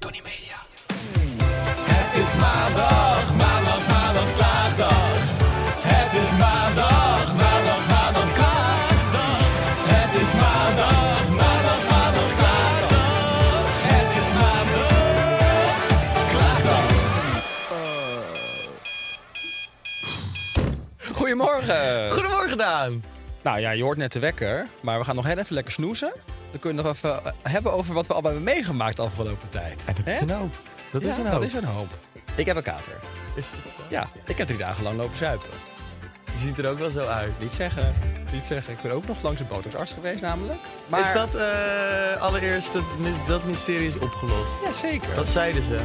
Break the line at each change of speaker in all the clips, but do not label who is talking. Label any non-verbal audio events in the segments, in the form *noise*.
Tony Media. Het is maandag, maandag, maandag, klaagdag. Het is maandag, maandag, maandag, klaagdag. Het is maandag, maandag, maandag, klaagdag. Het is maandag, klaagdag.
Goedemorgen.
Goedemorgen, Daan.
Nou ja, je hoort net de wekker, maar we gaan nog heel even lekker snoezen. Dan kunnen we nog even eh, hebben over wat we allemaal hebben meegemaakt de afgelopen tijd.
En dat is
Hè?
een hoop. Dat
Ja,
is een hoop.
Dat is een hoop. Ik heb een kater.
Is dat zo?
Ja, ik heb drie dagen lang lopen zuipen.
Je ziet er ook wel zo uit.
Niet zeggen, niet zeggen. Ik ben ook nog langs de botoxarts geweest namelijk. Maar...
Is dat eh, allereerst dat, mis- dat mysterie is opgelost?
Ja, zeker.
Wat zeiden ze?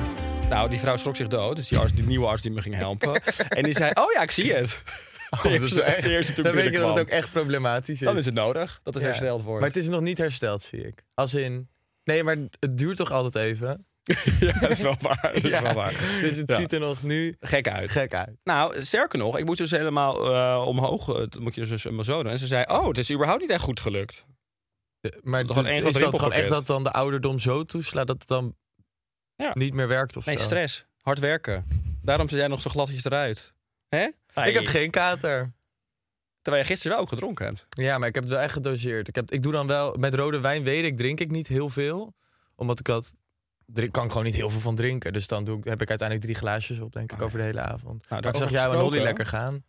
Nou, die vrouw schrok zich dood. Dus die, arts, die nieuwe arts die me ging
*laughs*
helpen. en die zei, oh ja, ik zie het.
Oh, dat is
*laughs*
wel *laughs* echt.
De eerste toen
dan weet je dat het ook
binnenkwam.
echt problematisch is.
Dan is het nodig dat het
Ja.
hersteld wordt.
Maar het is nog niet hersteld, zie ik. Als in. Nee, maar het duurt toch altijd even?
*laughs* ja, dat is wel waar. Dat is wel waar.
Dus het
Ja.
ziet er nog nu
Gek uit.
gek uit.
Nou, sterker nog, ik moest dus helemaal eh, omhoog. eh, Dat moet je dus helemaal zo doen. En ze zei, oh, het is überhaupt niet echt goed gelukt.
Eh, Maar
Gewoon één
is
groot
dat gewoon
rimpelpakket.
echt dat dan de ouderdom zo toeslaat dat het dan
Ja.
niet meer werkt of
Nee,
zo?
stress. Hard werken. Daarom zit jij nog zo gladjes eruit. Hè?
Ik heb geen kater.
Terwijl je gisteren wel ook gedronken hebt.
Ja, maar ik heb het wel echt gedoseerd. Ik, heb, ik doe dan wel, met rode wijn weet ik, drink ik niet heel veel. Omdat ik dat, drink, kan ik gewoon niet heel veel van drinken. Dus dan doe ik, heb ik uiteindelijk drie glaasjes op,
Oh,
denk ik, over de hele avond. maar ik zag
daarover
jou en
Nou, gesproken.
Holly lekker gaan.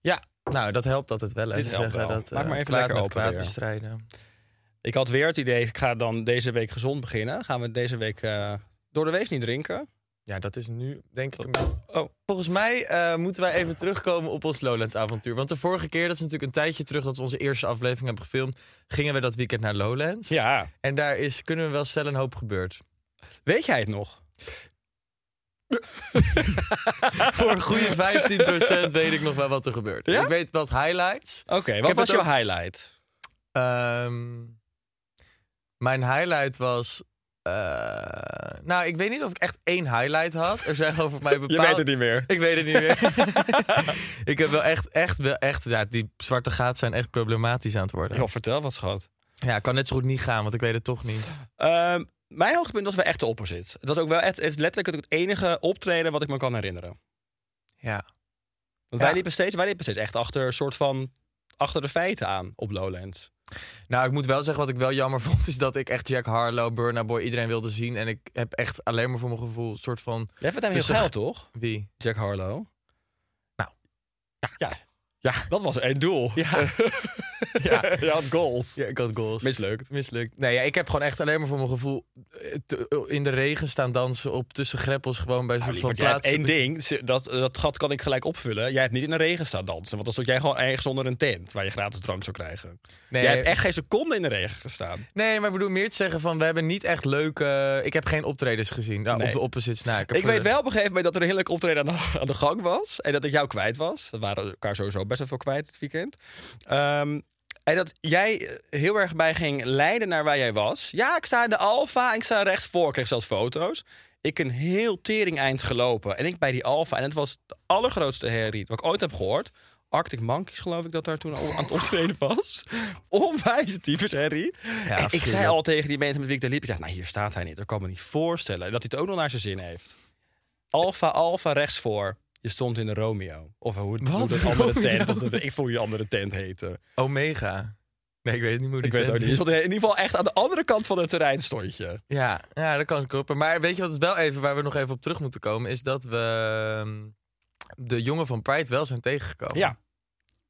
Ja, nou, dat helpt altijd wel. hè.
Dit
Ze
helpt
zeggen
wel.
Dat,
Maak
eh,
maar even
kwaad
lekker
met
open
kwaad
weer.
bestrijden.
Ik had weer het idee, ik ga dan deze week gezond beginnen. Gaan we deze week eh, door de week niet drinken.
Ja, dat is nu, denk ik... een-
Oh,
Volgens mij eh, moeten wij even terugkomen op ons Lowlands-avontuur. Want de vorige keer, dat is natuurlijk een tijdje terug... dat we onze eerste aflevering hebben gefilmd... gingen we dat weekend naar Lowlands.
ja.
En daar is, kunnen we wel stellen, een hoop gebeurd.
Weet jij het nog?
Voor een goede 15% weet ik nog wel wat er gebeurt.
Ja?
Ik weet wat highlights.
Oké,
Ik
wat
heb
was
het
jouw
ook-
highlight?
Ehm, mijn highlight was... eh, nou, ik weet niet of ik echt één highlight had. Er zijn gewoon voor mij bepaalde...
*laughs* Je weet het niet meer.
Ik weet het niet meer.
*laughs*
ik heb wel echt, echt, wel echt... Ja, die zwarte gaten zijn echt problematisch aan het worden.
Joh, vertel wat, schat.
Ja, kan net zo goed niet gaan, want ik weet het toch niet.
Ehm, mijn hoogtepunt was wel echt de opposite. Het was ook wel echt, het is letterlijk het enige optreden wat ik me kan herinneren.
Ja.
Want
Ja.
wij, liepen steeds, wij liepen steeds echt achter een soort van achter de feiten aan op Lowlands.
Nou, ik moet wel zeggen, wat ik wel jammer *laughs* vond, is dat ik echt Jack Harlow, Burna Boy, iedereen wilde zien. En ik heb echt alleen maar voor mijn gevoel een soort van...
Jij vindt hem heel
Tussen-
geil, toch?
Wie?
Dus Jack Harlow.
Nou.
Ja. Ja. Dat was één doel.
*laughs*
*laughs*
Ja. ja.
Je had goals.
ja, ik had goals.
Mislukt.
Mislukt. Nee, ja, ik heb gewoon echt alleen maar voor mijn gevoel eh, te- in de regen staan dansen op tussen greppels gewoon bij een
Nou,
soort van
lieverd, jij hebt
plaats.
één ding, ze- dat, dat gat kan ik gelijk opvullen. Jij hebt niet in de regen staan dansen, want dan stond jij gewoon ergens onder een tent waar je gratis drank zou krijgen.
Nee.
Jij hebt echt geen seconde in de regen gestaan.
Nee, maar ik bedoel meer te zeggen van we hebben niet echt leuke. Ik heb geen optredens gezien. Nou,
Nee.
op de opposites. Nou, ik heb
Ik
voor
weet
de-
wel op een gegeven moment dat er een heerlijk optreden aan de, *laughs* aan de gang was. En dat ik jou kwijt was. We waren elkaar sowieso best wel veel kwijt het weekend. Ehm, en dat jij eh, heel erg bij ging leiden naar waar jij was. Ja, ik sta in de Alfa en ik sta rechts voor. Ik kreeg zelfs foto's. Ik een heel tering eind gelopen. En ik bij die Alfa. En het was de allergrootste herrie wat ik ooit heb gehoord. Arctic Monkeys geloof ik dat daar toen al aan het *laughs* optreden was. Onwijze tyfus herrie. En ik zei
afschuwelijk.
al tegen die mensen met wie ik daar liep. Ik zei, nou hier staat hij niet. Dat kan me niet voorstellen. En dat hij het ook nog naar zijn zin heeft. Alfa, Alfa, rechts voor. Je stond in de Romeo. Of hoe, hoe
Wat? *laughs*
dat andere
Romeo?
tent. Dat, ik voel je andere tent heten.
Omega. Nee, ik weet het niet hoe
Ik
die
weet het ook
tent
niet. Je stond in ieder geval echt aan de andere kant van het terrein stond je.
Ja, ja, dat kan kloppen. Maar weet je wat het wel even waar we nog even op terug moeten komen, is dat we ehm, de jongen van Pride wel zijn tegengekomen.
Ja.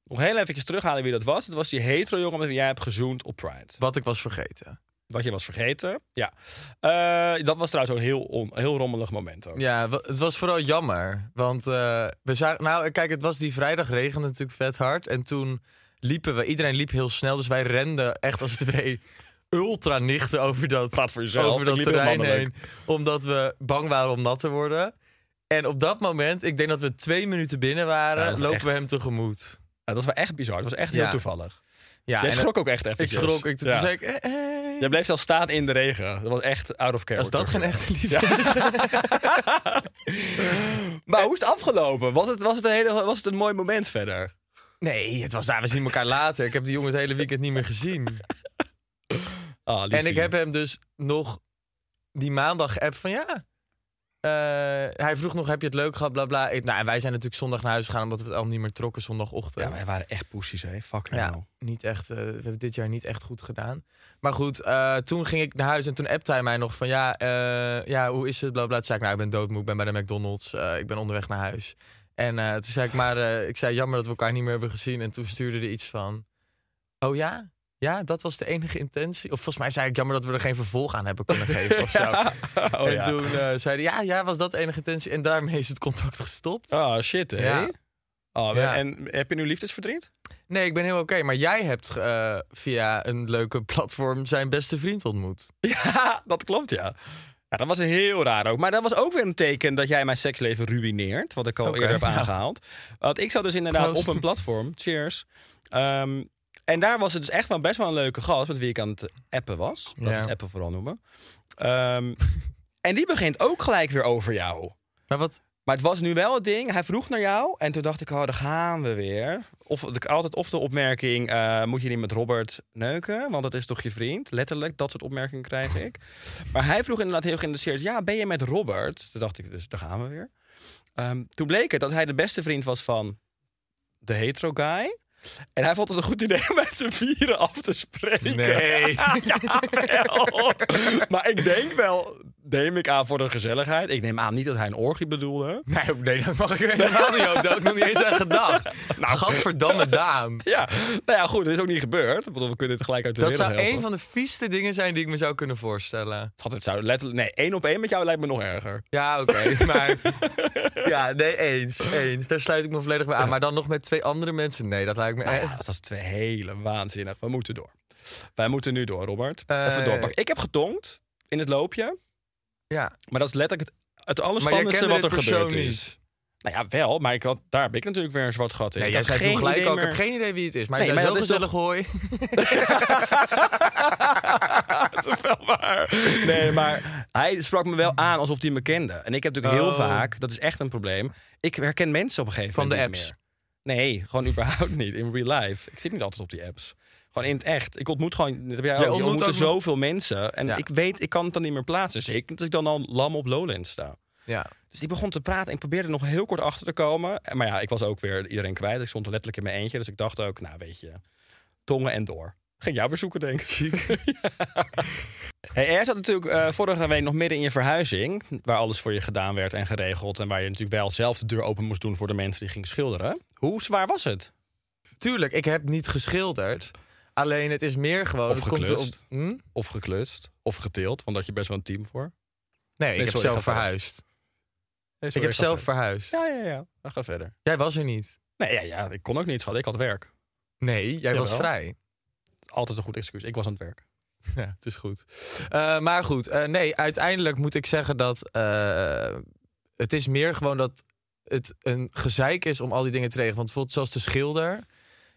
Nog heel even terughalen wie dat was. Het was die hetero jongen met wie jij hebt gezoend op Pride.
Wat ik was vergeten.
Wat je was vergeten. Ja. Eh, dat was trouwens ook een heel, on, heel rommelig moment. Ook.
Ja, wa- het was vooral jammer. Want eh, we zagen. Nou, kijk, het was die vrijdag regende natuurlijk vet hard. En toen liepen we. Iedereen liep heel snel. Dus wij renden echt als twee *laughs* ultra-nichten over dat,
Praat voor jezelf.
over dat
Ik liep heel
terrein
mannelijk.
heen. Omdat we bang waren om nat te worden. En op dat moment, ik denk dat we twee minuten binnen waren,
Ja, dat was
lopen we
echt-
hem tegemoet.
Nou, dat was wel echt bizar. Het was echt
Ja.
heel toevallig.
Ja,
jij
en
schrok ook echt
Ik
eventjes.
schrok. Ik, toen
ja.
zei ik, eh, eh.
Jij bleef zelfs staan in de regen. Dat was echt out of care.
Als dat geen echte liefde is.
Maar hoe is het afgelopen? Was het, was, het een hele, was het een mooi moment verder?
*laughs* Nee, het was daar. We zien elkaar later. Ik heb die jongen het hele weekend niet meer gezien.
Ah, liefie.
En ik heb hem dus nog die maandag app van ja. eh, hij vroeg nog: heb je het leuk gehad? Bla bla. Ik- nou, en wij zijn natuurlijk zondag naar huis gegaan omdat we het al niet meer trokken zondagochtend.
Ja, wij waren echt poesies, hè? Fuck
Ja, *laughs*
nou.
niet echt. eh, we hebben dit jaar niet echt goed gedaan. Maar goed, eh, toen ging ik naar huis en toen appte hij mij nog van ja, eh, ja hoe is het? Bla bla. Toen zei ik: nou, ik ben doodmoe. Ik ben bij de McDonald's. eh, ik ben onderweg naar huis. En eh, toen zei ik: maar eh, ik zei jammer dat we elkaar niet meer hebben gezien. En toen stuurde hij iets van: oh ja. Ja, dat was de enige intentie. Of volgens mij zei ik jammer dat we er geen vervolg aan hebben
*laughs*
kunnen geven of zo.
Oh,
en
ja.
toen eh, zei hij, ja, ja, was dat de enige intentie. En daarmee is het contact gestopt.
Ah, shit, hè?
Ja.
Ah, we-
Ja.
En heb je nu liefdesverdriet?
Nee, ik ben heel oké. maar jij hebt eh, via een leuke platform zijn beste vriend ontmoet.
*laughs* Ja, dat klopt, ja. Ja, dat was heel raar ook. Maar dat was ook weer een teken dat jij mijn seksleven ruïneert. Wat ik al
Oké,
eerder heb
ja.
aangehaald. Want ik zat dus inderdaad
Proost.
op een platform. Cheers. Ehm, en daar was het dus echt wel best wel een leuke gast... met wie ik aan het appen was. Dat
Ja.
het appen vooral noemen. Ehm, *laughs* en die begint ook gelijk weer over jou.
Maar wat,
Maar het was nu wel het ding. Hij vroeg naar jou. En toen dacht ik, oh, daar gaan we weer. Of, altijd of de opmerking, eh, moet je niet met Robert neuken? Want dat is toch je vriend? Letterlijk, dat soort opmerkingen krijg ik. maar hij vroeg inderdaad heel geïnteresseerd, ja, ben je met Robert? Toen dacht ik, dus daar gaan we weer. Ehm, toen bleek het dat hij de beste vriend was van de hetero guy. En hij vond het een goed idee om met z'n vieren af te spreken.
Nee.
*laughs* ja, wel. Maar ik denk wel, neem ik aan voor de gezelligheid. Ik neem aan niet dat hij een orgie
*laughs*
bedoelde.
nee, nee, dat mag ik helemaal niet over. Daar had ik nog niet eens aan gedacht. Nou, Gadverdamme
*laughs*
Daan.
*laughs* Ja, nou ja, goed, dat is ook niet gebeurd. Ik bedoel, we kunnen het gelijk uit de
Dat
wereld
zou
helpen.
een van de vieste dingen zijn die ik me zou kunnen voorstellen.
Schat, het zou letterlijk... Nee, één op één met jou lijkt me nog erger.
Ja, oké. *laughs*
*laughs*
maar ja, nee, eens, eens. Daar sluit ik me volledig bij aan. Maar dan nog met twee andere mensen? Nee, dat lijkt me
Nou
echt...
ja, dat is twee hele waanzinnig. We moeten door. Wij moeten nu door, Robert. Even
Eh.
doorpakken. Ik heb getongd in het loopje.
Ja,
Maar dat is letterlijk het, het
maar jij
allerspannendste
kende
wat
dit
er
persoon
gebeurd is.
niet.
Nou ja, wel, maar ik had, daar heb ik natuurlijk weer een zwart gat in.
Nee,
Ik
jij
had
zei toen
geen
gelijk
idee
ook, ik heb
meer-
geen idee wie het is. Maar
Nee,
jij
maar
zei zo
dat is
gezellig hooi.
dat is wel waar. Nee, maar hij sprak me wel aan alsof hij me kende. En ik heb natuurlijk heel
Oh.
vaak, dat is echt een probleem. Ik herken mensen op een gegeven
Van de
moment. niet
apps?
meer. Nee, gewoon überhaupt niet. In real life. Ik zit niet altijd op die apps. Gewoon in het echt. Ik ontmoet gewoon. Dat heb jij ook. Je
ontmoet
ontmoet
ook-
zoveel mensen. En
Ja.
ik weet, ik kan het dan niet meer plaatsen. Zeker dat ik dan al lam op Lowlands sta.
*laughs* Ja.
Dus die begon te praten en ik probeerde nog heel kort achter te komen. En- Maar ja, ik was ook weer iedereen kwijt. Ik stond er letterlijk in mijn eentje. Dus ik dacht ook, nou weet je, tongen en door. Ging jou weer zoeken, denk ik. *laughs* Ja. Hey, jij zat natuurlijk eh, vorige week nog midden in je verhuizing. Waar alles voor je gedaan werd en geregeld. En waar je natuurlijk wel zelf de deur open moest doen voor de mensen die gingen schilderen. Hoe zwaar was het?
Tuurlijk, ik heb niet geschilderd. Alleen het is meer gewoon...
Of
het komt erop-
geklust.
Hm?
Of geklust, of geteeld. Want daar had je best wel een team voor.
Nee, ik
Nee,
heb
sorry,
zelf
ga verder.
verhuisd. Ik heb zelf verhuisd.
Ja, ja, ja. Dan ga verder.
Jij was er niet.
Nee, ja, ja, ik kon ook niet, schat. Ik had werk.
Nee, jij was
Jawel.
vrij.
Altijd een goed excuus. Ik was aan het werk.
*laughs* Ja, het is goed. Eh, maar goed, eh, nee, uiteindelijk moet ik zeggen dat eh, het is meer gewoon dat het een gezeik is om al die dingen te regelen. Want bijvoorbeeld zoals de schilder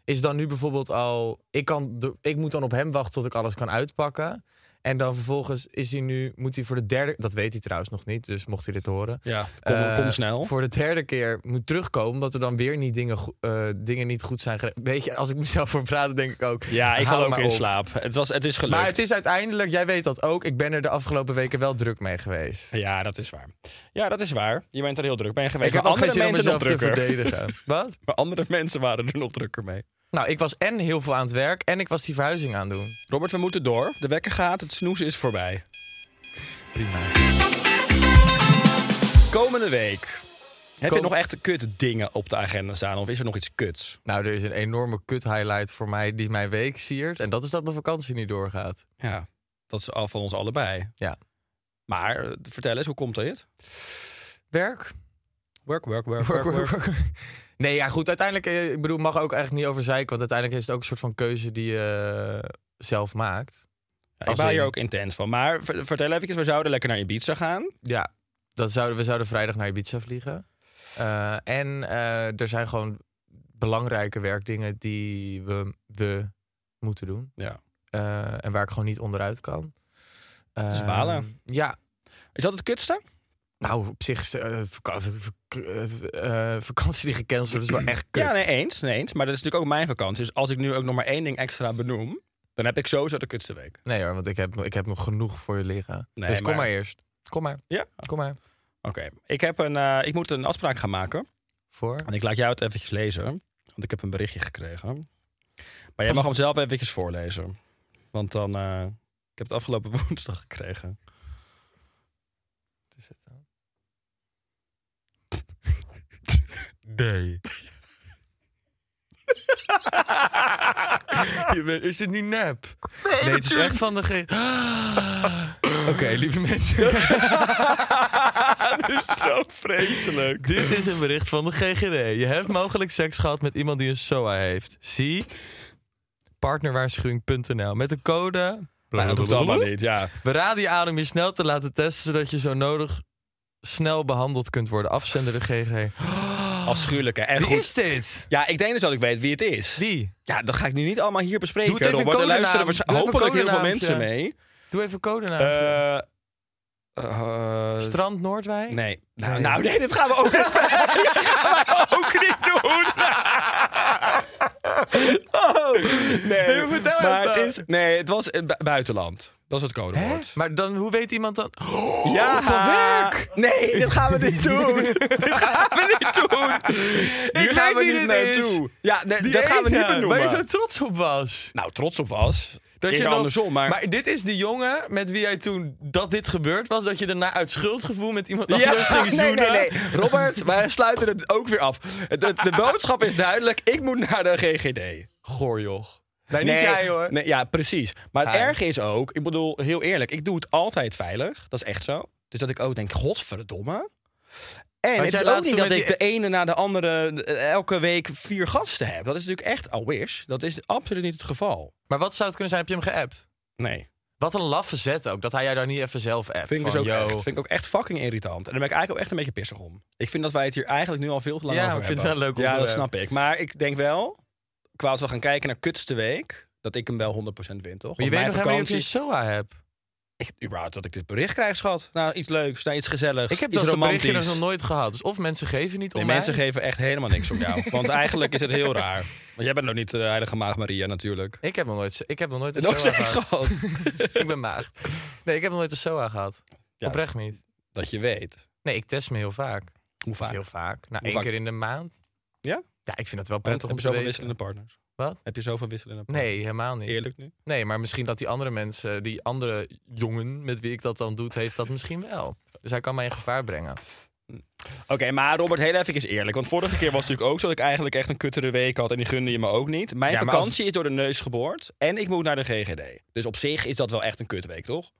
is dan nu bijvoorbeeld al... Ik, kan, de- ik moet dan op hem wachten tot ik alles kan uitpakken. En dan vervolgens is hij nu, moet hij voor de derde... Dat weet hij trouwens nog niet, dus mocht hij dit horen.
Ja, kom,
Eh,
kom snel.
voor de derde keer moet terugkomen. Omdat er dan weer niet dingen, go- eh, dingen niet goed zijn gere- Weet je, als ik mezelf voor praat, dan denk ik ook.
Ja, ik
hou
val ook
maar
in
op.
slaap. Het, was, het is gelukt.
Maar het is uiteindelijk, jij weet dat ook. Ik ben er de afgelopen weken wel druk mee geweest.
Ja, dat is waar. Ja, dat is waar. Je bent er heel druk mee geweest.
ik heb
maar
ook geen
andere
zin om
mensen nog *laughs*
mezelf te
drukker.
verdedigen. Wat?
Maar andere mensen waren er nog drukker mee.
Nou, ik was en heel veel aan het werk en ik was die verhuizing aan het doen.
Robert, we moeten door. De wekker gaat, het snoezen is voorbij.
Prima.
Komende week. Heb je
Kom-
nog echt kut dingen op de agenda staan? Of is er nog iets kuts?
Nou, er is een enorme kut-highlight voor mij die mijn week siert. En dat is dat mijn vakantie niet doorgaat.
Ja, dat is af van ons allebei.
Ja.
Maar eh, vertel eens, hoe komt dit?
Werk.
Work, work, work, Nou,
Work, work, work. Nee, ja, goed. Uiteindelijk, eh, ik bedoel, mag er ook eigenlijk niet over zeiken. Want uiteindelijk is het ook een soort van keuze die je eh, zelf maakt.
Ja, ik
Als
ben
in-
hier ook intens van. Maar ver- vertel even, we zouden lekker naar Ibiza gaan.
Ja, dat zouden, we zouden vrijdag naar Ibiza vliegen. Eh, en eh, er zijn gewoon belangrijke werkdingen die we, we moeten doen.
Ja.
Eh, en waar ik gewoon niet onderuit kan.
is
Eh,
Dus balen.
Ja,
Is dat het kutste?
nou op zich, is, eh, vaka- vak- eh, eh, vakantie die gecanceld wordt, is wel echt kut.
Ja, nee, eens, nee, eens. Maar dat is natuurlijk ook mijn vakantie. Dus als ik nu ook nog maar één ding extra benoem, dan heb ik sowieso de kutste week.
Nee hoor, want ik heb, ik heb nog genoeg voor je liggen.
Nee,
dus kom
maar-
maar, eerst. Kom maar,
Ja?
kom maar.
Oké. Ik heb een, eh, ik moet een afspraak gaan maken.
Voor?
En ik laat jou het eventjes lezen. Want ik heb een berichtje gekregen. Maar jij mag hem zelf eventjes voorlezen. Want dan... eh, ik heb het afgelopen *laughs* woensdag gekregen.
Wat is het dan? *laughs* Nee. *laughs* Je bent- is dit niet nep? Nee, het is echt van de... ge- *gasps* Oké, lieve *laughs* mensen.
Dit is
Oh,
zo vreselijk.
Dit is een bericht van de GGD. Je hebt mogelijk seks gehad met iemand die een SOA heeft. Zie partnerwaarschuwing.nl met de code...
Maar Nou, dat hoeft allemaal niet, ja.
We raden je aan om je snel te laten testen, zodat je zo nodig snel behandeld kunt worden. Afzender de GGD.
Afschuwelijk, hè. En
Wie
goed.
is dit?
Ja, ik denk dus dat ik weet wie het is.
Wie?
Ja, dat ga ik nu niet allemaal hier bespreken.
Doe het even
Robert. Er
een
luisteren
codenaam.
waarsch-
Doe even een
hopelijk heel veel
codenaampje.
mensen mee.
Doe even code
Eh, eh,
Strand Noordwijk?
nee. Nou,
Nee.
nou, nee, dit gaan we ook niet, dat gaan we ook niet doen. *laughs* oh, *laughs* nee.
Nee, vertel
maar
even.
het is, nee, het was het bu- buitenland. Dat is het
Hè?
codewoord.
Maar dan, hoe weet iemand
*laughs*
dat?
Ja,
van werk.
Nee, dit gaan we *laughs* niet doen. dit gaan we niet doen. Hier
weet
gaan we
wie
niet
dit is.
naartoe. Ja, nee, dat gaan we niet
Waar je
benoemen.
zo trots op was.
Nou, trots op was. Dat is je
nog-
andersom, maar...
dit is de jongen met wie jij toen dat dit gebeurd was. Dat je daarna uit schuldgevoel met iemand
Ja,
anders ging
*laughs* nee,
zoenen.
nee, nee. Robert, wij sluiten het ook weer af. De, de boodschap is duidelijk. Ik moet naar de GGD.
Goor, joh. Nee, niet jij hoor.
Nee, ja, precies. Maar het
Hij.
erge is ook, ik bedoel, heel eerlijk, ik doe het altijd veilig. Dat is echt zo. Dus dat ik ook denk, godverdomme. En
jij
het is ook
laatst
niet
toen
dat
met
ik de
die-
ene na de andere eh, elke week vier gasten heb. Dat is natuurlijk echt, I wish. Dat is absoluut niet het geval.
Maar wat zou het kunnen zijn? Heb je hem geappt?
Nee.
Wat een laffe zet ook. Dat hij jou daar niet even zelf appt.
Vind ik, dus
Van,
ook
yo.
echt, vind ik ook echt fucking irritant. En daar ben ik eigenlijk ook echt een beetje pissig om. Ik vind dat wij het hier eigenlijk nu al veel te lang
Ja,
over
maar ik vind
hebben.
het wel een leuk
Ja, dat
onderwerp.
snap ik. Maar ik denk wel, qua als we gaan kijken naar kutste week, dat ik hem wel 100% win, toch?
Maar je
Want
weet nog
mijn
helemaal niet of je
vakantie-
een SOA hebt.
Ik, überhaupt dat ik dit bericht krijg, schat. Nou, iets leuks, nou, iets gezelligs,
Ik heb
iets
dat soort berichtje
romantisch.
nog nooit gehad. Dus of mensen geven niet om
Nee,
mij.
mensen geven echt helemaal niks om
*laughs*
jou. Want eigenlijk is het heel raar. Want jij bent nog niet de heilige maag Maria natuurlijk.
Ik heb nog nooit, ik heb nog nooit een
Nog
SOA
steeds
gehad.
gehad.
*laughs* ik ben maagd. Nee, ik heb nog nooit een SOA gehad.
Ja.
Oprecht niet.
Dat je weet.
Nee, ik test me heel vaak.
Hoe
Of
vaak?
Heel vaak. Nou,
Hoe
één
vaak?
keer in de maand.
Ja?
Ja, ik vind het wel
Want
prettig
heb
om
je
te
zoveel
weten.
wisselende partners?
Wat?
Heb je zoveel wisselende partners?
Nee, helemaal niet.
Eerlijk nu?
Nee, maar misschien dat die andere mensen, die andere jongen met wie ik dat dan doet, heeft dat misschien wel. Dus hij kan mij in gevaar brengen.
Oké, maar Robert, heel even eerlijk. Want vorige keer was het natuurlijk ook zo dat ik eigenlijk echt een kuttere week had. En die gunde je me ook niet. Mijn
Ja, maar
vakantie is door de neus geboord. En ik moet naar de GGD. Dus op zich is dat wel echt een kutweek, toch?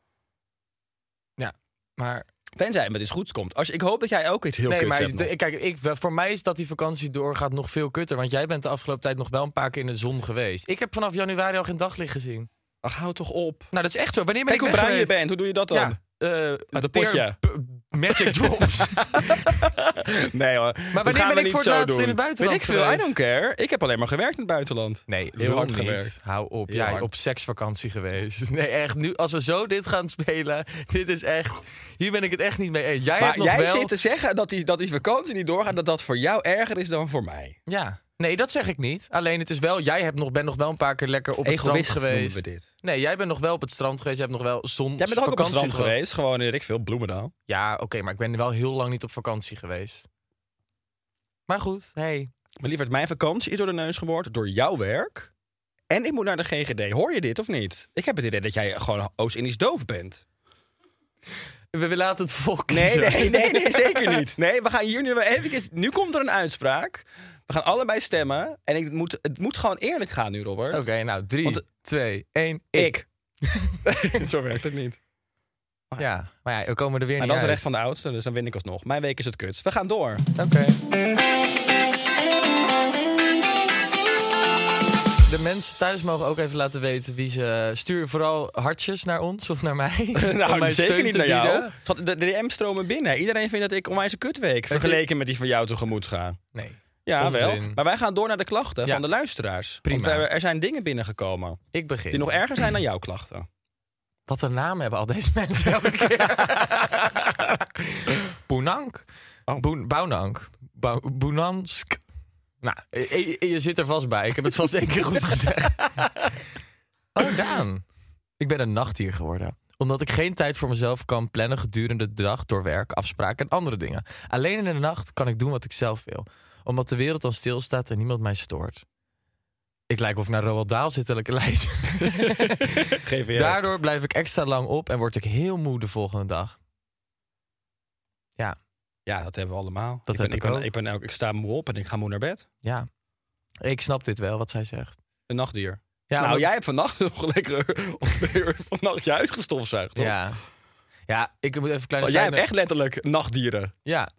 Maar,
Tenzij het met iets goeds komt. Als, je- ik hoop dat jij ook iets heel
nee,
kuts
maar
hebt nog.
de- kijk, ik, voor mij is dat die vakantie doorgaat nog veel kutter. Want jij bent de afgelopen tijd nog wel een paar keer in de zon geweest. Ik heb vanaf januari al geen daglicht gezien.
Ach, hou toch op.
Nou, dat is echt zo. Wanneer ben
Kijk hoe
ik weg
bruin je
geweest?
bent. Hoe doe je dat dan?
Ja, eh,
Met een
teer-
potje.
p- Magic *laughs* drops.
*laughs* Nee hoor.
wanneer
dat gaan
ben
we
ik
niet
voor het
zo
laatst
doen.
in het buitenland
Weet ik veel, I
geweest?
don't care. Ik heb alleen maar gewerkt in het buitenland.
Nee,
heel hard
niet.
gewerkt.
Hou op.
Heel
jij
hard.
op seksvakantie geweest. Nee, echt. Nu, als we zo dit gaan spelen, *laughs* dit is echt. Hier ben ik het echt niet mee eens. Jij hebt
Maar
nog
jij
wel.
zit te zeggen dat die, dat die vakantie niet doorgaat, dat dat voor jou erger is dan voor mij.
Ja. Nee, dat zeg ik niet. Alleen het is wel. Jij hebt nog, bent nog wel een paar keer lekker op het
Egoïst
strand
noemen
geweest.
we dit.
Nee, jij bent nog wel op het strand geweest. Jij hebt nog wel zon.
Jij bent ook op het
vakantie
strand
gehad.
geweest, gewoon in, weet ik veel, Bloemendaal.
Ja, oké, maar ik ben wel heel lang niet op vakantie geweest. Maar goed, hey.
Maar lieverd, mijn vakantie is door de neus geboord door jouw werk. En ik moet naar de GGD. Hoor je dit of niet? Ik heb het idee dat jij gewoon Oost-Indisch doof bent.
We, we laten het volk
Nee,
kiezen.
nee, nee,
*laughs*
nee, zeker niet. Nee, we gaan hier nu wel even... Nu komt er een uitspraak. We gaan allebei stemmen. En ik moet, het moet gewoon eerlijk gaan nu, Robert.
Oké, nou, drie,
Want-
twee, één, ik. *laughs*
Ik. Zo werkt het niet.
Ja, maar ja, we komen er weer
Maar
niet
dat is
uit.
recht van de oudste, dus dan win ik alsnog. Mijn week is het kut. We gaan
*laughs*
door.
Oké. De mensen thuis mogen ook even laten weten wie ze... Stuur vooral hartjes naar ons of naar mij.
*laughs* Nou,
om mij Nou, steun te bieden.
Want De, de DM stromen binnen. Iedereen vindt dat ik onwijs een kutweek... vergeleken met die van jou tegemoet ga.
Nee.
Ja,
Onzin.
wel. Maar wij gaan door naar de klachten
Ja.
van de luisteraars.
Prima.
Want wij- er zijn dingen binnengekomen
Ik begin.
die nog erger zijn dan jouw
*laughs*
klachten.
Wat een naam hebben al deze *laughs* mensen elke keer. *laughs* Boenank.
Oh.
Boen, Bounank. Bou- Boenansk. Nou, je, je zit er vast bij. Ik heb het vast één keer *laughs* goed gezegd. Oh, Daan. Ik ben een nachtdier geworden. Omdat ik geen tijd voor mezelf kan plannen gedurende de dag door werk, afspraken en andere dingen. Alleen in de nacht kan ik doen wat ik zelf wil. Omdat de wereld dan stilstaat en niemand mij stoort. Ik lijk of ik naar Roald Daal zit te lijst.
Geef je.
Daardoor blijf ik extra lang op en word ik heel moe de volgende dag.
Ja, dat hebben we allemaal.
Dat
ik, ben,
heb ik
ben,
ook.
Ik, ben, ook- ik sta moe op en ik ga moe naar bed.
Ja, ik snap dit wel, wat zij zegt.
Een nachtdier.
Ja,
nou,
omdat-
jij hebt vannacht *laughs* nog lekker om twee uur vannacht je uitgestofzuigd, toch?
Ja. ja, ik moet even een kleine
Want jij hebt
zijde-
echt letterlijk nachtdieren. *laughs*
Ja.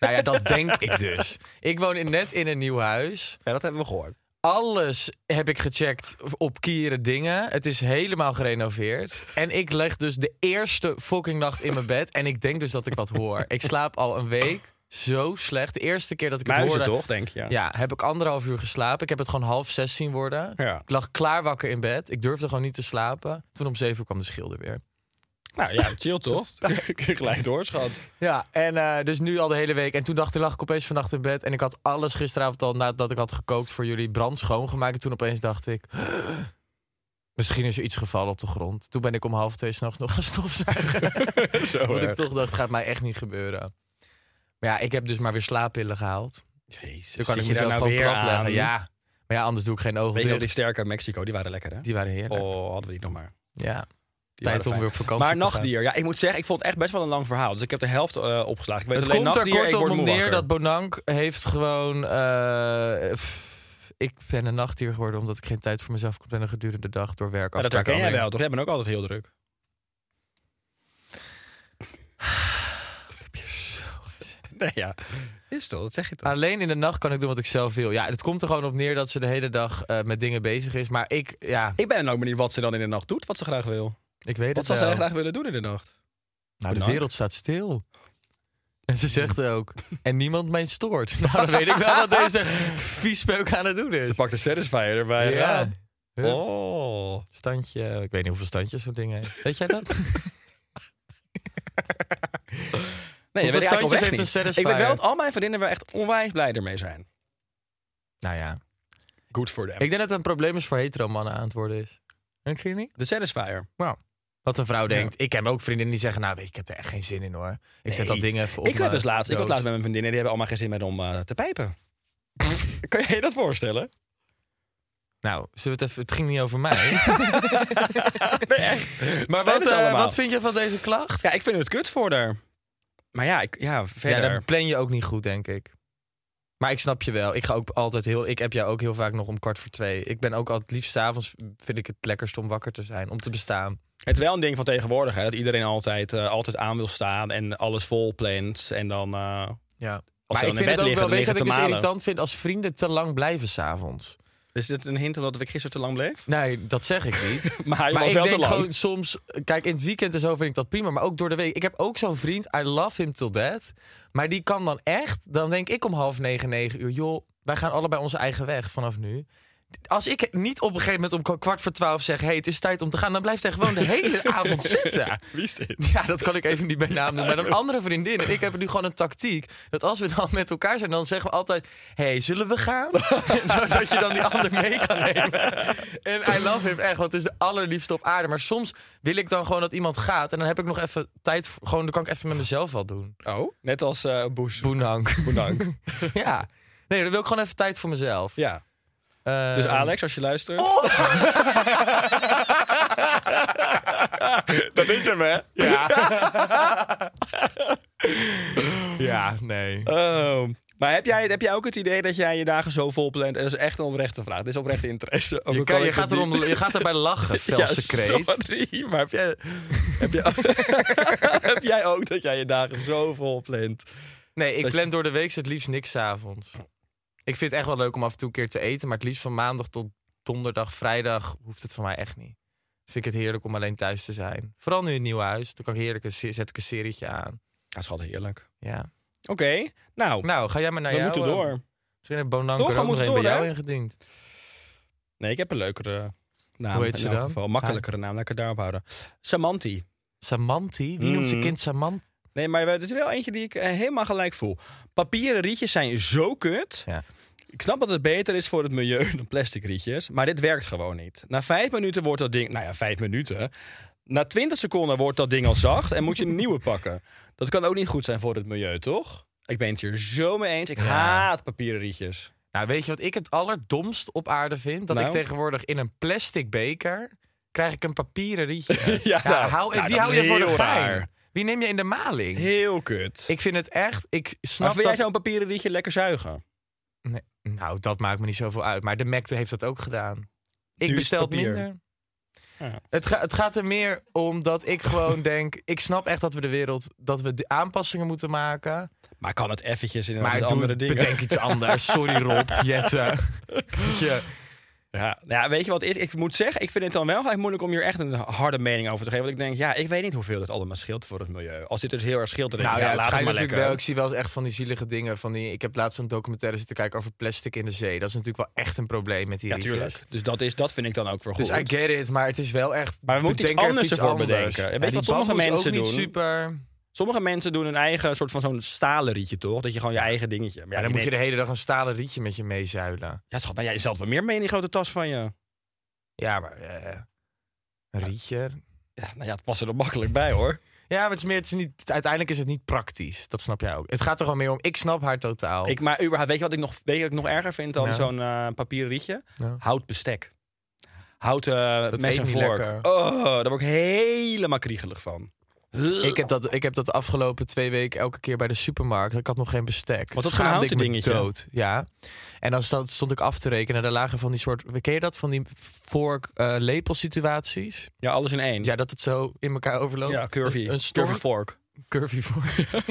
nou ja, dat denk ik dus. Ik woon in, net in een nieuw huis.
Ja, dat hebben we gehoord.
Alles heb ik gecheckt op kieren dingen. Het is helemaal gerenoveerd. En ik leg dus de eerste fucking nacht in mijn bed. En ik denk dus dat ik wat hoor. Ik slaap al een week zo slecht. De eerste keer dat ik het
Muizen
hoorde...
toch, denk je?
Ja, heb ik anderhalf uur geslapen. Ik heb het gewoon half zes zien worden.
Ja.
Ik lag klaar wakker in bed. Ik durfde gewoon niet te slapen. Toen om zeven uur kwam de schilder weer.
Nou ja, chill toch?
*laughs*
Gelijk door, schat.
Ja, en eh, dus nu al de hele week. En toen dacht ik, lag ik opeens vannacht in bed. En ik had alles gisteravond al nadat ik had gekookt voor jullie brandschoon gemaakt. En toen opeens dacht ik... *gasps* Misschien is er iets gevallen op de grond. Toen ben ik om half twee s'nachts nog gaan stofzuigen.
Zo,
Want
eh.
ik toch dacht, gaat mij Oh, echt niet gebeuren. Maar ja, ik heb dus maar weer slaappillen gehaald.
Jezus,
Toen Dus kan nou
zit
ik
je daar
mezelf gewoon
nou weer
plat leggen.
aan?
Ja, maar ja, anders doe ik geen ogen
Weet je wel,
dicht.
die sterke uit Mexico, die waren lekker, hè?
Die waren heerlijk.
Oh, hadden we die nog maar.
Ja,
Die waren
tijd om
fijn.
weer op vakantie
Maar
te gaan.
nachtdier, ja, ik moet zeggen, ik vond het echt best wel een lang verhaal. Dus ik heb de helft eh, opgeslagen. Ik weet
Het
alleen
komt er
nachtdier, ik
kortom
word
op
moe
neer
wakker.
dat Bonank heeft gewoon... eh, pff, ik ben een nachtdier geworden omdat ik geen tijd voor mezelf kon plannen gedurende de dag door werk.
Ja, dat
afspraken,
herken
andere
jij wel, toch? Jij bent ook altijd heel druk. Nee, ja. Is toch? Dat zeg je toch?
dingen. Alleen in de nacht kan ik doen wat ik zelf wil. Ja, het komt er gewoon op neer dat ze de hele dag eh, met dingen bezig is. Maar ik, ja,
Ik ben ook benieuwd wat ze dan in de nacht doet, wat ze graag wil.
ik weet
Wat
het
zou
wel.
zij graag willen doen in de nacht?
Nou, de
Bonank?
wereld staat stil. En ze zegt ook, en niemand mij stoort. *laughs* Nou, dan weet ik wel wat deze viespeuk aan het doen
Ze
is.
pakt de Satisfier erbij.
Ja. Hup.
Oh.
Standje, ik weet niet hoeveel standjes zo'n ding heeft. Weet jij dat?
Nee,
Hoeveel
dat weet ik eigenlijk
standjes
oprecht
heeft een
niet.
Satisfier?
Ik weet wel dat al mijn vriendinnen er echt onwijs blij ermee zijn.
*laughs* nou ja,
Good for them.
Ik denk dat het een probleem is voor hetero mannen aan het worden is. Denk je niet?
De Satisfier.
Wat een vrouw denkt. Ik heb ook vriendinnen die zeggen, nou weet je, ik heb er echt geen zin in hoor. Ik zet
Nee.
dat ding even op
Ik, heb
mijn
dus laatst, ik was
doos.
laatst met mijn vriendinnen, die hebben allemaal geen zin meer om eh, te
*laughs*
pijpen. kan je je dat voorstellen?
Nou, zullen we het even... Het ging niet over
*laughs*
mij. maar
Spelen
wat,
ze
eh,
allemaal.
wat vind je van deze klacht?
Ja, ik vind het kut voor haar. Maar ja, ik, ja
ja,
verder.
dan plan je ook niet goed, denk ik. Maar ik snap je wel. Ik ga ook altijd heel... Ik heb jou ook heel vaak nog om kwart voor twee. Ik ben ook altijd het liefst 's avonds vind ik het lekkerst om wakker te zijn. Om te bestaan.
Het is wel een ding van tegenwoordig, hè, dat iedereen altijd, eh, altijd aan wil staan en alles vol plant. En dan, eh,
Ja. Maar
als
ik
ze dan
vind
in bed
het ook
liggen,
wel... Weet
dan
je
liggen
wat
te
ik dus
malen.
irritant vind? Als vrienden te lang blijven s'avonds.
Is dit een hint omdat ik gisteren te lang bleef? *laughs*
Nee, dat zeg ik niet.
Maar
maar
je was
ik
wel
denk
te lang.
gewoon soms... Kijk, in het weekend en zo vind ik dat prima. Maar ook door de week. Ik heb ook zo'n vriend, I love him till death. Maar die kan dan echt... Dan denk ik om half negen, negen uur... joh, wij gaan allebei onze eigen weg vanaf nu. Als ik niet op een gegeven moment om kwa- kwart voor twaalf zeg... hey, het is tijd om te gaan... dan blijft hij gewoon de
*laughs*
hele avond zitten.
Wie is dit?
*laughs* Ja, dat kan ik even niet bij naam noemen.
*laughs*
Maar een andere vriendin en ik hebben nu gewoon een tactiek. Dat als we dan met elkaar zijn, dan zeggen we altijd... hey, zullen we gaan? *laughs* Zodat je dan die ander mee kan nemen.
*laughs*
En I love him echt, want het is de allerliefste op aarde. Maar soms wil ik dan gewoon dat iemand gaat. En dan heb ik nog even tijd... Voor,
*laughs*
gewoon, dan kan ik even met mezelf wat doen.
Oh, net als eh Boes.
Boenank.
Boenank.
ja. Nee, dan wil ik gewoon even tijd voor mezelf.
Ja.
*laughs* Eh, Oh!
Dus Alex, als je luistert. *laughs*
dat is hem, hè? Ja. ja, nee.
Oh. Maar heb jij, heb jij ook het idee dat jij je dagen zo vol plant? Dat is echt een oprechte vraag. Dit is oprechte interesse. Ook
Je,
al
kan, je,
ik het
gaat erom,
niet-
je gaat erbij lachen,
*laughs* Ja,
Velse kreet.
sorry, maar heb *laughs* jij, heb, jij, heb jij ook dat jij je dagen zo vol plant?
Nee, ik
Dat je-
plan door de week het liefst niks 's avonds. Ik vind het echt wel leuk om af en toe een keer te eten, maar het liefst van maandag tot donderdag, vrijdag hoeft het van mij echt niet. Dus Vind ik het heerlijk om alleen thuis te zijn. Vooral nu in het nieuwe huis. Dan kan ik heerlijk een, se- zet ik een serietje aan.
Dat is altijd heerlijk.
Ja.
Oké, nou,
Nou, ga jij maar naar
we
jou.
moeten door.
Misschien heeft Bonanker
Toch, we
ook nog
moeten
een bij
door,
jou
hè?
ingediend.
Nee, ik heb een leukere naam.
Hoe heet ze
in elk
dan?
geval. Makkelijkere naam, laat ik het daarop houden. Samanti.
Samanti? Wie noemt zijn
Mm.
kind Samant?
Nee, maar het is wel eentje die ik eh, helemaal gelijk voel. Papieren rietjes zijn zo kut.
Ja.
Ik snap dat het beter is voor het milieu *laughs* dan plastic rietjes. Maar dit werkt gewoon niet. Na vijf minuten wordt dat ding... Nou ja, vijf minuten. Na twintig seconden wordt dat ding al zacht en moet *laughs* je een nieuwe pakken. Dat kan ook niet goed zijn voor het milieu, toch? Ik ben het hier zo mee eens. Ik haat papieren rietjes.
Nou, weet je wat ik het allerdomst op aarde vind? Dat ik
Nou?
tegenwoordig in een plastic beker krijg ik een papieren
*laughs*
rietje.
Ja, nou,
hou,
nou,
wie
dat
hou
is
je voor de
heel
gein?
raar.
Wie neem je in de maling?
Heel kut.
Ik vind het echt. Ik
maar
snap
vind
dat.
jij zo'n papieren rietje lekker zuigen?
Nee, nou, dat maakt me niet zoveel uit. Maar de Mac heeft dat ook gedaan.
is
Ik
het
bestel het
papier.
minder.
Ja.
Het, ga- het gaat er meer om dat ik gewoon *laughs* denk. Ik snap echt dat we de wereld. dat we de aanpassingen moeten maken.
Maar kan het eventjes in
maar
met
doe,
andere dingen?
bedenk iets anders. Sorry, Rob.
*laughs*
Jette. nou Weet je,
Ja, ja, weet je wat het is? Ik moet zeggen, ik vind het dan wel gelijk moeilijk om hier echt een harde mening over te geven. Want ik denk, ja, ik weet niet hoeveel dit allemaal scheelt voor het milieu. Als dit dus heel erg scheelt, dan denk
Nou
ik,
ja,
ja,
het
laat het
schijnt
maar
natuurlijk
lekker.
wel. Ik zie wel eens echt van die zielige dingen. Van die, ik heb laatst een documentaire zitten kijken over plastic in de zee. Dat is natuurlijk wel echt een probleem met die
Ja,
rietjes.
tuurlijk. Dus dat, is, dat vind ik dan ook voor goed.
Dus I get it, maar het is wel echt.
Maar we moeten
bedenk even
iets anders ervoor bedenken. En weet je
die
wat sommige
bamboe is
mensen
ook niet
doen?
Super. Maar
Sommige mensen doen hun eigen soort van zo'n stalen rietje, toch? Dat je gewoon je eigen dingetje... Maar ja,
dan
ik
moet je
denk-
de hele dag een stalen rietje met je meezuilen.
Ja, schat, nou, jij zat wel meer mee in die grote tas van je.
Ja, maar eh, een rietje.
Ja, nou ja, het past er dan makkelijk bij, hoor.
Ja, maar het is meer, het is niet, uiteindelijk is het niet praktisch. Dat snap jij ook. Het gaat er gewoon meer om. Ik snap haar totaal.
Ik, maar überhaupt, weet je wat ik nog, weet je wat ik nog erger vind dan
Nou.
zo'n eh, papieren rietje?
Nou.
Hout bestek. Hout eh mes
eet
en
niet
vork.
lekker.
Oh, daar word ik helemaal kriegelig van.
Ik heb, dat, ik heb dat de afgelopen twee weken elke keer bij de supermarkt. Ik had nog geen bestek.
Was dat zo'n
Schaamde
houten
ik me
dingetje?
Dood. Ja. En dan stond, stond ik af te rekenen. Daar lagen van die soort... Ken je dat? Van die eh, vork-lepel-situaties?
Ja, alles in één.
ja, dat het zo in elkaar overloopt.
Ja, curvy.
Een, een storm.
Curvy vork.
Curvy vork. *laughs*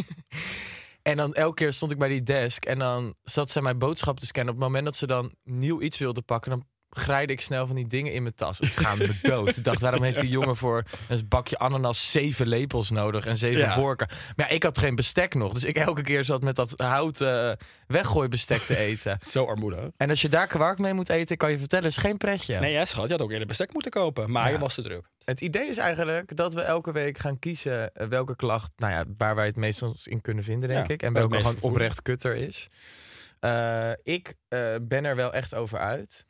en dan elke keer stond ik bij die desk. En dan zat zij mijn boodschap te scannen. Op het moment dat ze dan nieuw iets wilde pakken... dan grijde ik snel van die dingen in mijn tas. Ik schaamde
*laughs*
me dood. Ik dacht, waarom heeft die jongen voor een bakje ananas zeven lepels nodig en zeven
Ja.
vorken? Maar ja, ik had geen bestek nog. Dus ik elke keer zat met dat houten weggooibestek te eten.
Zo armoedig.
En als je daar kwark mee moet eten, kan je vertellen, is geen pretje.
Nee, ja, schat, je had ook eerder bestek moeten kopen. Maar je was te druk.
Het idee is eigenlijk dat we elke week gaan kiezen eh, welke klacht, nou ja, waar wij het meestal in kunnen vinden, denk
Ja,
ik. En
waar
welke
het meest
gewoon
vervoer.
oprecht kutter is. Eh, ik eh, ben er wel echt over uit.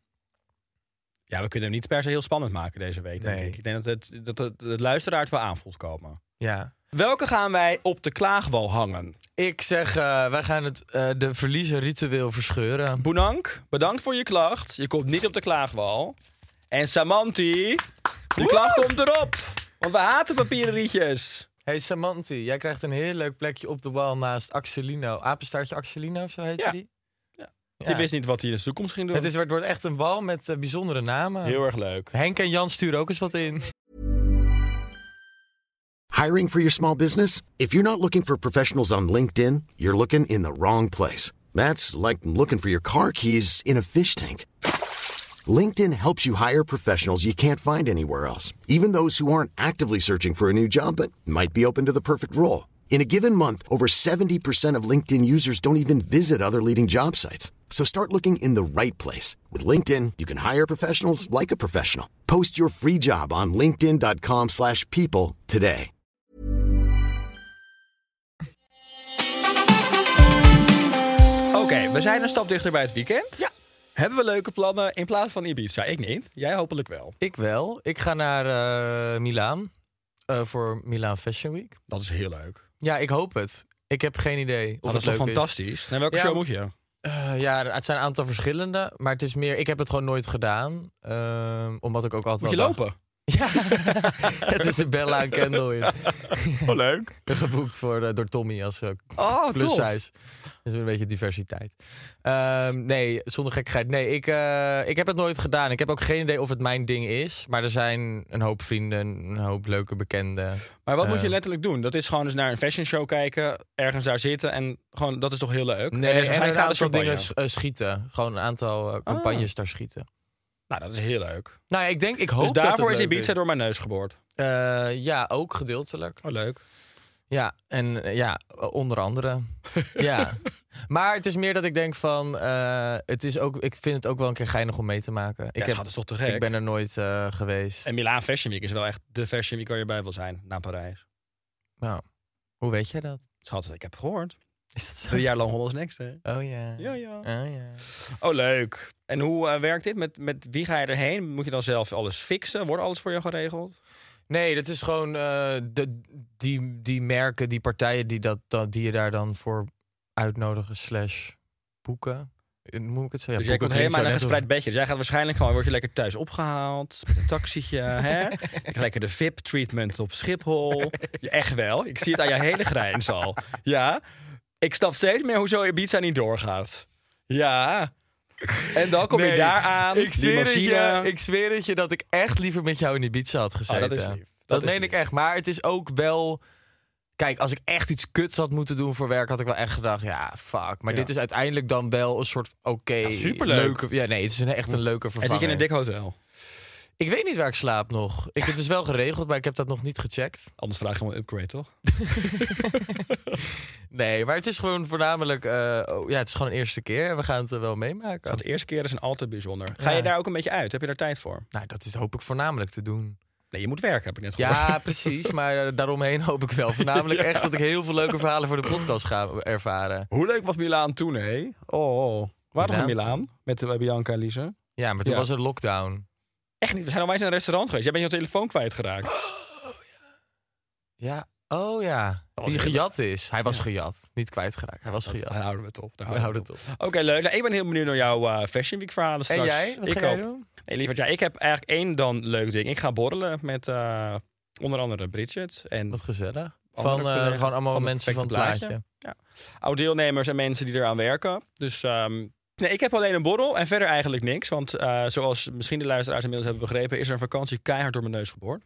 Ja, we kunnen hem niet per se heel spannend maken deze week, denk
Nee.
ik. Ik denk dat het, dat het, het luisteraar het wel aan voelt komen.
Ja.
Welke gaan wij op de klaagwal hangen?
Ik zeg, eh, wij gaan het, eh, de verliezen ritueel verscheuren.
Boenank, bedankt voor je klacht. Je komt niet op de klaagwal. En Samanti, de klacht komt erop. Want we haten papieren rietjes.
Hey Samanti, jij krijgt een heel leuk plekje op de wal naast Axelino. Apenstaartje Axelino, of zo heette
Ja.
die?
Je wist niet wat hij in de toekomst ging doen.
Het, is, het wordt echt een wal met eh, bijzondere namen.
heel erg leuk.
Henk en Jan sturen ook eens wat in.
Hiring for your small business? If you're not looking for professionals on LinkedIn, you're looking in the wrong place. That's like looking for your car keys in a fish tank. LinkedIn helps you hire professionals you can't find anywhere else, even those who aren't actively searching for a new job but might be open to the perfect role. In a given month, over 70% of LinkedIn users don't even visit other leading job sites. So start looking in the right place. With LinkedIn, you can hire professionals like a professional. Post your free job on linkedin.com/people slash people today.
Oké, we zijn een stap dichter bij het weekend.
Ja.
Hebben we leuke plannen in plaats van Ibiza? Ik niet. Jij hopelijk wel.
Ik wel. Ik ga naar eh, Milaan eh, voor Milaan Fashion Week.
Dat is heel leuk.
Ja, ik hoop het. Ik heb geen idee of
dat
het
is toch
leuk
fantastisch? Naar welke
Ja,
show
maar-
moet je?
Eh, ja, het zijn een aantal verschillende. Maar het is meer, ik heb het gewoon nooit gedaan. ehm, omdat ik ook altijd
Moet je
wel dacht-
lopen?
*laughs* Ja, tussen Bella en Kendall in.
Oh, leuk.
*laughs* Geboekt voor, eh, door Tommy als eh,
Oh,
plus
tof.
size. Dus een beetje diversiteit. Ehm, nee, zonder gekkigheid. Nee, ik, eh, ik heb het nooit gedaan. Ik heb ook geen idee of het mijn ding is. Maar er zijn een hoop vrienden, een hoop leuke bekenden.
Maar wat moet je
Eh.
letterlijk doen? Dat is gewoon eens naar een fashion show kijken, ergens daar zitten en gewoon, dat is toch heel leuk?
Nee, en,
er is
een
waarschijnlijk
aantal
gratis champagne.
dingen s- eh, schieten. Gewoon een aantal
Ah.
eh, campagnes daar schieten.
Nou, dat is heel leuk.
Nou ja, ik denk, ik hoop
Dus
dat het
daarvoor is
leuk
Ibiza door mijn neus geboord.
Eh, ja, ook gedeeltelijk.
Oh, leuk.
Ja, en eh, ja, onder
*laughs*
andere. ja. Maar het is meer dat ik denk van, eh, het is ook, ik vind het ook wel een keer geinig om mee te maken.
Ik
ik, heb,
dat is toch te gek?
ik ben er nooit eh, geweest.
En Milaan Fashion Week is wel echt de Fashion Week waar je bij wil zijn, na Parijs.
Nou, hoe weet jij dat?
Schat, ik heb gehoord.
Is dat zo?
Drie jaar lang Hollands Next, hè?
Oh ja.
Ja, ja.
Oh, ja.
Oh, leuk. En hoe eh, werkt dit? Met, met wie ga je erheen? Moet je dan zelf alles fixen? Wordt alles voor je geregeld?
Nee, dat is gewoon eh, de, die, die merken, die partijen die, dat, dat, die je daar dan voor uitnodigen slash boeken. Eh, Moet ik het zeggen?
dus jij
Boeken
komt
klinkt
helemaal
zo
in een
net of-
gespreid bedje. Dus jij gaat waarschijnlijk gewoon, word je lekker thuis opgehaald. Met een taxietje,
*laughs*
hè? Je krijgt Lekker de VIP-treatment op Schiphol. Ja, echt wel. Ik zie het aan je hele grijns al. Ja. Ik snap steeds meer hoezo Ibiza niet doorgaat. Ja. En dan kom je
Nee,
daar aan.
Ik
die
zweer, het je,
machine.
ik zweer het je dat ik echt liever met jou in Ibiza had gezeten.
dat is lief.
Oh, Dat,
Dat is
meen
lief.
ik echt. Maar het is ook wel... Kijk, als ik echt iets kuts had moeten doen voor werk... had ik wel echt gedacht, ja, fuck. Maar
Ja.
dit is uiteindelijk dan wel een soort oké...
superleuk.
leuke- Ja, nee, het is een, echt een leuke
En zit
vervanging.
je in een dik hotel?
Ik weet niet waar ik slaap nog. Ik, het is wel geregeld, maar ik heb dat nog niet gecheckt.
Anders vraag je om een upgrade, toch?
Nee, maar het is gewoon voornamelijk... eh, oh, ja, het is gewoon een eerste keer en we gaan het er wel meemaken.
Want de eerste keer is een altijd bijzonder. Ga je
Ja.
daar ook een beetje uit? Heb je daar tijd voor?
Nou, dat is, hoop ik voornamelijk te doen.
Nee, je moet werken, heb ik net gehoord.
Ja, precies. Maar eh, daaromheen hoop ik wel. Voornamelijk echt dat ik heel veel leuke verhalen voor de podcast ga ervaren.
*laughs* Hoe leuk was Milaan toen, hé? Oh, oh. waar toch in
Milaan?
Milaan? Met eh, Bianca en Lise?
Ja, maar toen
Ja.
was er lockdown.
Echt niet. We zijn alwijs in een restaurant geweest. Jij bent je telefoon kwijtgeraakt.
Ja, oh ja.
was
Die
heel
geraakt is. Hij was
Ja.
gejat. Niet kwijtgeraakt. Hij was
Dat- Oh,
gejat.
Daar houden we het op. Daar
We houden het op.
Oké, leuk. Nou, ik ben heel benieuwd naar jouw eh, Fashion Week verhalen straks.
En jij? Wat
ik
ga jij
ook.
doen?
Nee, lieverd, ja, ik heb eigenlijk één dan leuk ding. Ik ga borrelen met eh, onder andere Bridget en
Wat gezellig.
Andere
Van eh,
collega's
gewoon allemaal
van het
mensen van het
perfecte
plaatje.
plaatje. oud-deelnemers en mensen die eraan werken. Dus ehm, nee, ik heb alleen een borrel en verder eigenlijk niks. Want eh, zoals misschien de luisteraars inmiddels hebben begrepen... is er een vakantie keihard door mijn
*laughs*
neus geboord.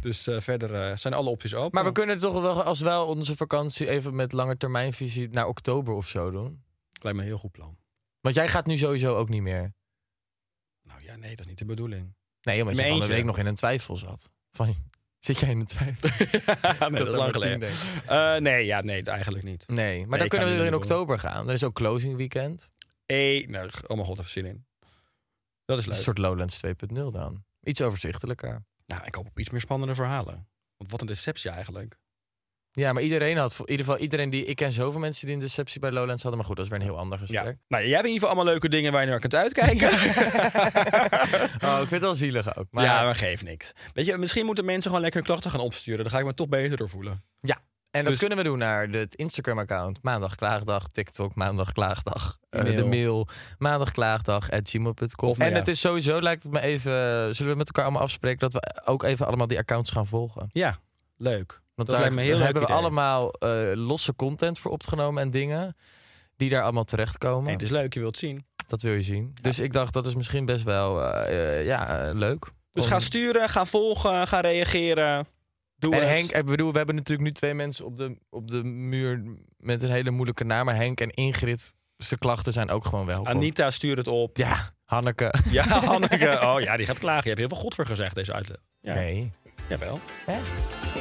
Dus eh, verder eh, zijn alle opties open.
Maar we kunnen toch wel, als wel onze vakantie even met lange termijnvisie naar oktober of zo doen.
Lijkt me een heel goed plan.
Want jij gaat nu sowieso ook niet meer.
Nou ja, nee, dat is niet de
*laughs*
bedoeling.
Nee, omdat
In
je
mijn
van de
eentje.
week nog in een twijfel zat. Van, *laughs* zit jij in een twijfel?
nee, *laughs* dat is lang geleden. Eh, nee, ja, nee, eigenlijk niet.
Nee, maar dan
ik ga
kunnen we
niet
weer in
naar de
oktober gaan. Dan is ook closing weekend.
Hey, nou, oh mijn god, even zin in. Dat is
Dat is
leuk.
een soort Lowlands 2.0 dan. Iets overzichtelijker.
Nou, ik hoop op iets meer spannende verhalen. Want wat een deceptie eigenlijk.
Ja, maar iedereen had, in ieder geval iedereen die, ik ken zoveel mensen die een deceptie bij Lowlands hadden. Maar goed, dat is weer een heel ander
Ja. *laughs*
gesprek.
Nou, jij hebt in ieder geval allemaal leuke dingen waar je naar kunt
*laughs*
uitkijken.
Oh, ik vind het wel zielig ook. Maar,
ja, maar geeft niks. Weet je, misschien moeten mensen gewoon lekker hun klachten gaan opsturen. Daar ga ik me toch beter door voelen.
en dat
dus-
kunnen we doen naar de- het Instagram-account. Maandag klaagdag, TikTok, maandag klaagdag. eh,
Mail.
de mail, maandag klaagdag, at gmail.com.
Of nou
En
ja.
het is sowieso, lijkt het me even, zullen we met elkaar allemaal afspreken dat we ook even allemaal die accounts gaan volgen.
Ja, leuk.
Want
Dat
daar
lijkt me een heel leuk
hebben we
idee.
allemaal eh, losse content voor opgenomen en dingen die daar allemaal terechtkomen.
Nee, het is leuk, je wilt zien.
Dat wil je zien. Dus ik dacht, dat is misschien best wel eh, eh, ja, eh, leuk.
Dus
Om-
ga sturen, ga volgen, ga reageren. Doe
En
het.
Henk, ik bedoel, we hebben natuurlijk nu twee mensen op de, op de muur met een hele moeilijke naam. Maar Henk en Ingrid, zijn klachten zijn ook gewoon welkom.
Anita, stuur het op.
Ja, Hanneke.
Ja, Hanneke. Oh ja, die gaat klagen. Je hebt heel veel godver gezegd, deze uitleg.
*laughs*
Ja.
Nee.
Jawel.
Echt?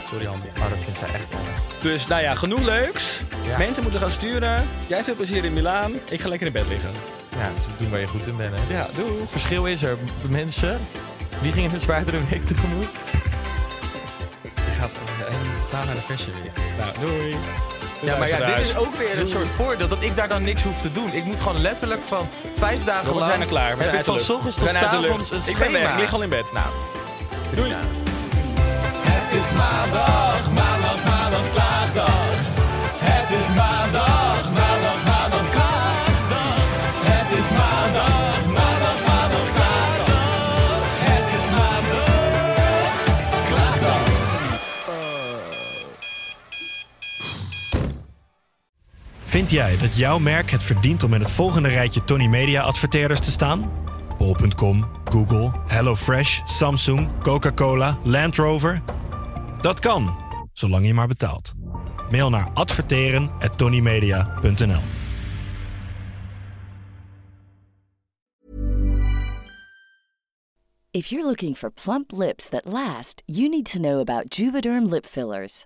Sorry, Hanneke.
Oh, dat vindt zij echt wel.
Dus nou ja, genoeg leuks.
Ja.
Mensen moeten gaan sturen. Jij veel plezier in Milaan. Ik ga lekker in bed liggen.
Ja, dus doen waar je goed in bent. Hè.
Ja, doei.
Het verschil is er. Mensen, wie gingen een zwaardere week tegemoet?
Je gaat eh, totaal naar de fashion weer. Nou, doei.
Ja, maar ja, dit is ook weer een
Doei.
soort voordeel dat ik daar dan niks hoef te doen. Ik moet gewoon letterlijk van vijf dagen
We
lang...
zijn er klaar. We
heb ik
zijn uit de
van
lucht.
ochtends
We
tot
zijn uit de lucht.
avonds een
Ik ben weg.
schema.
Ik lig al in bed.
Nou,
Doei.
Het is maandag, maandag, maandag, klaagdag. Het is maandag, maandag, maandag, klaagdag.
Vind jij dat jouw merk het verdient om in het volgende rijtje Tony Media adverteerders te staan? Bol.com, Google, HelloFresh, Samsung, Coca-Cola, Land Rover? Dat kan, zolang je maar betaalt. Mail naar adverteren@tonymedia.nl.
If you're looking for plump lips that last, you need to know about Juvederm lip fillers.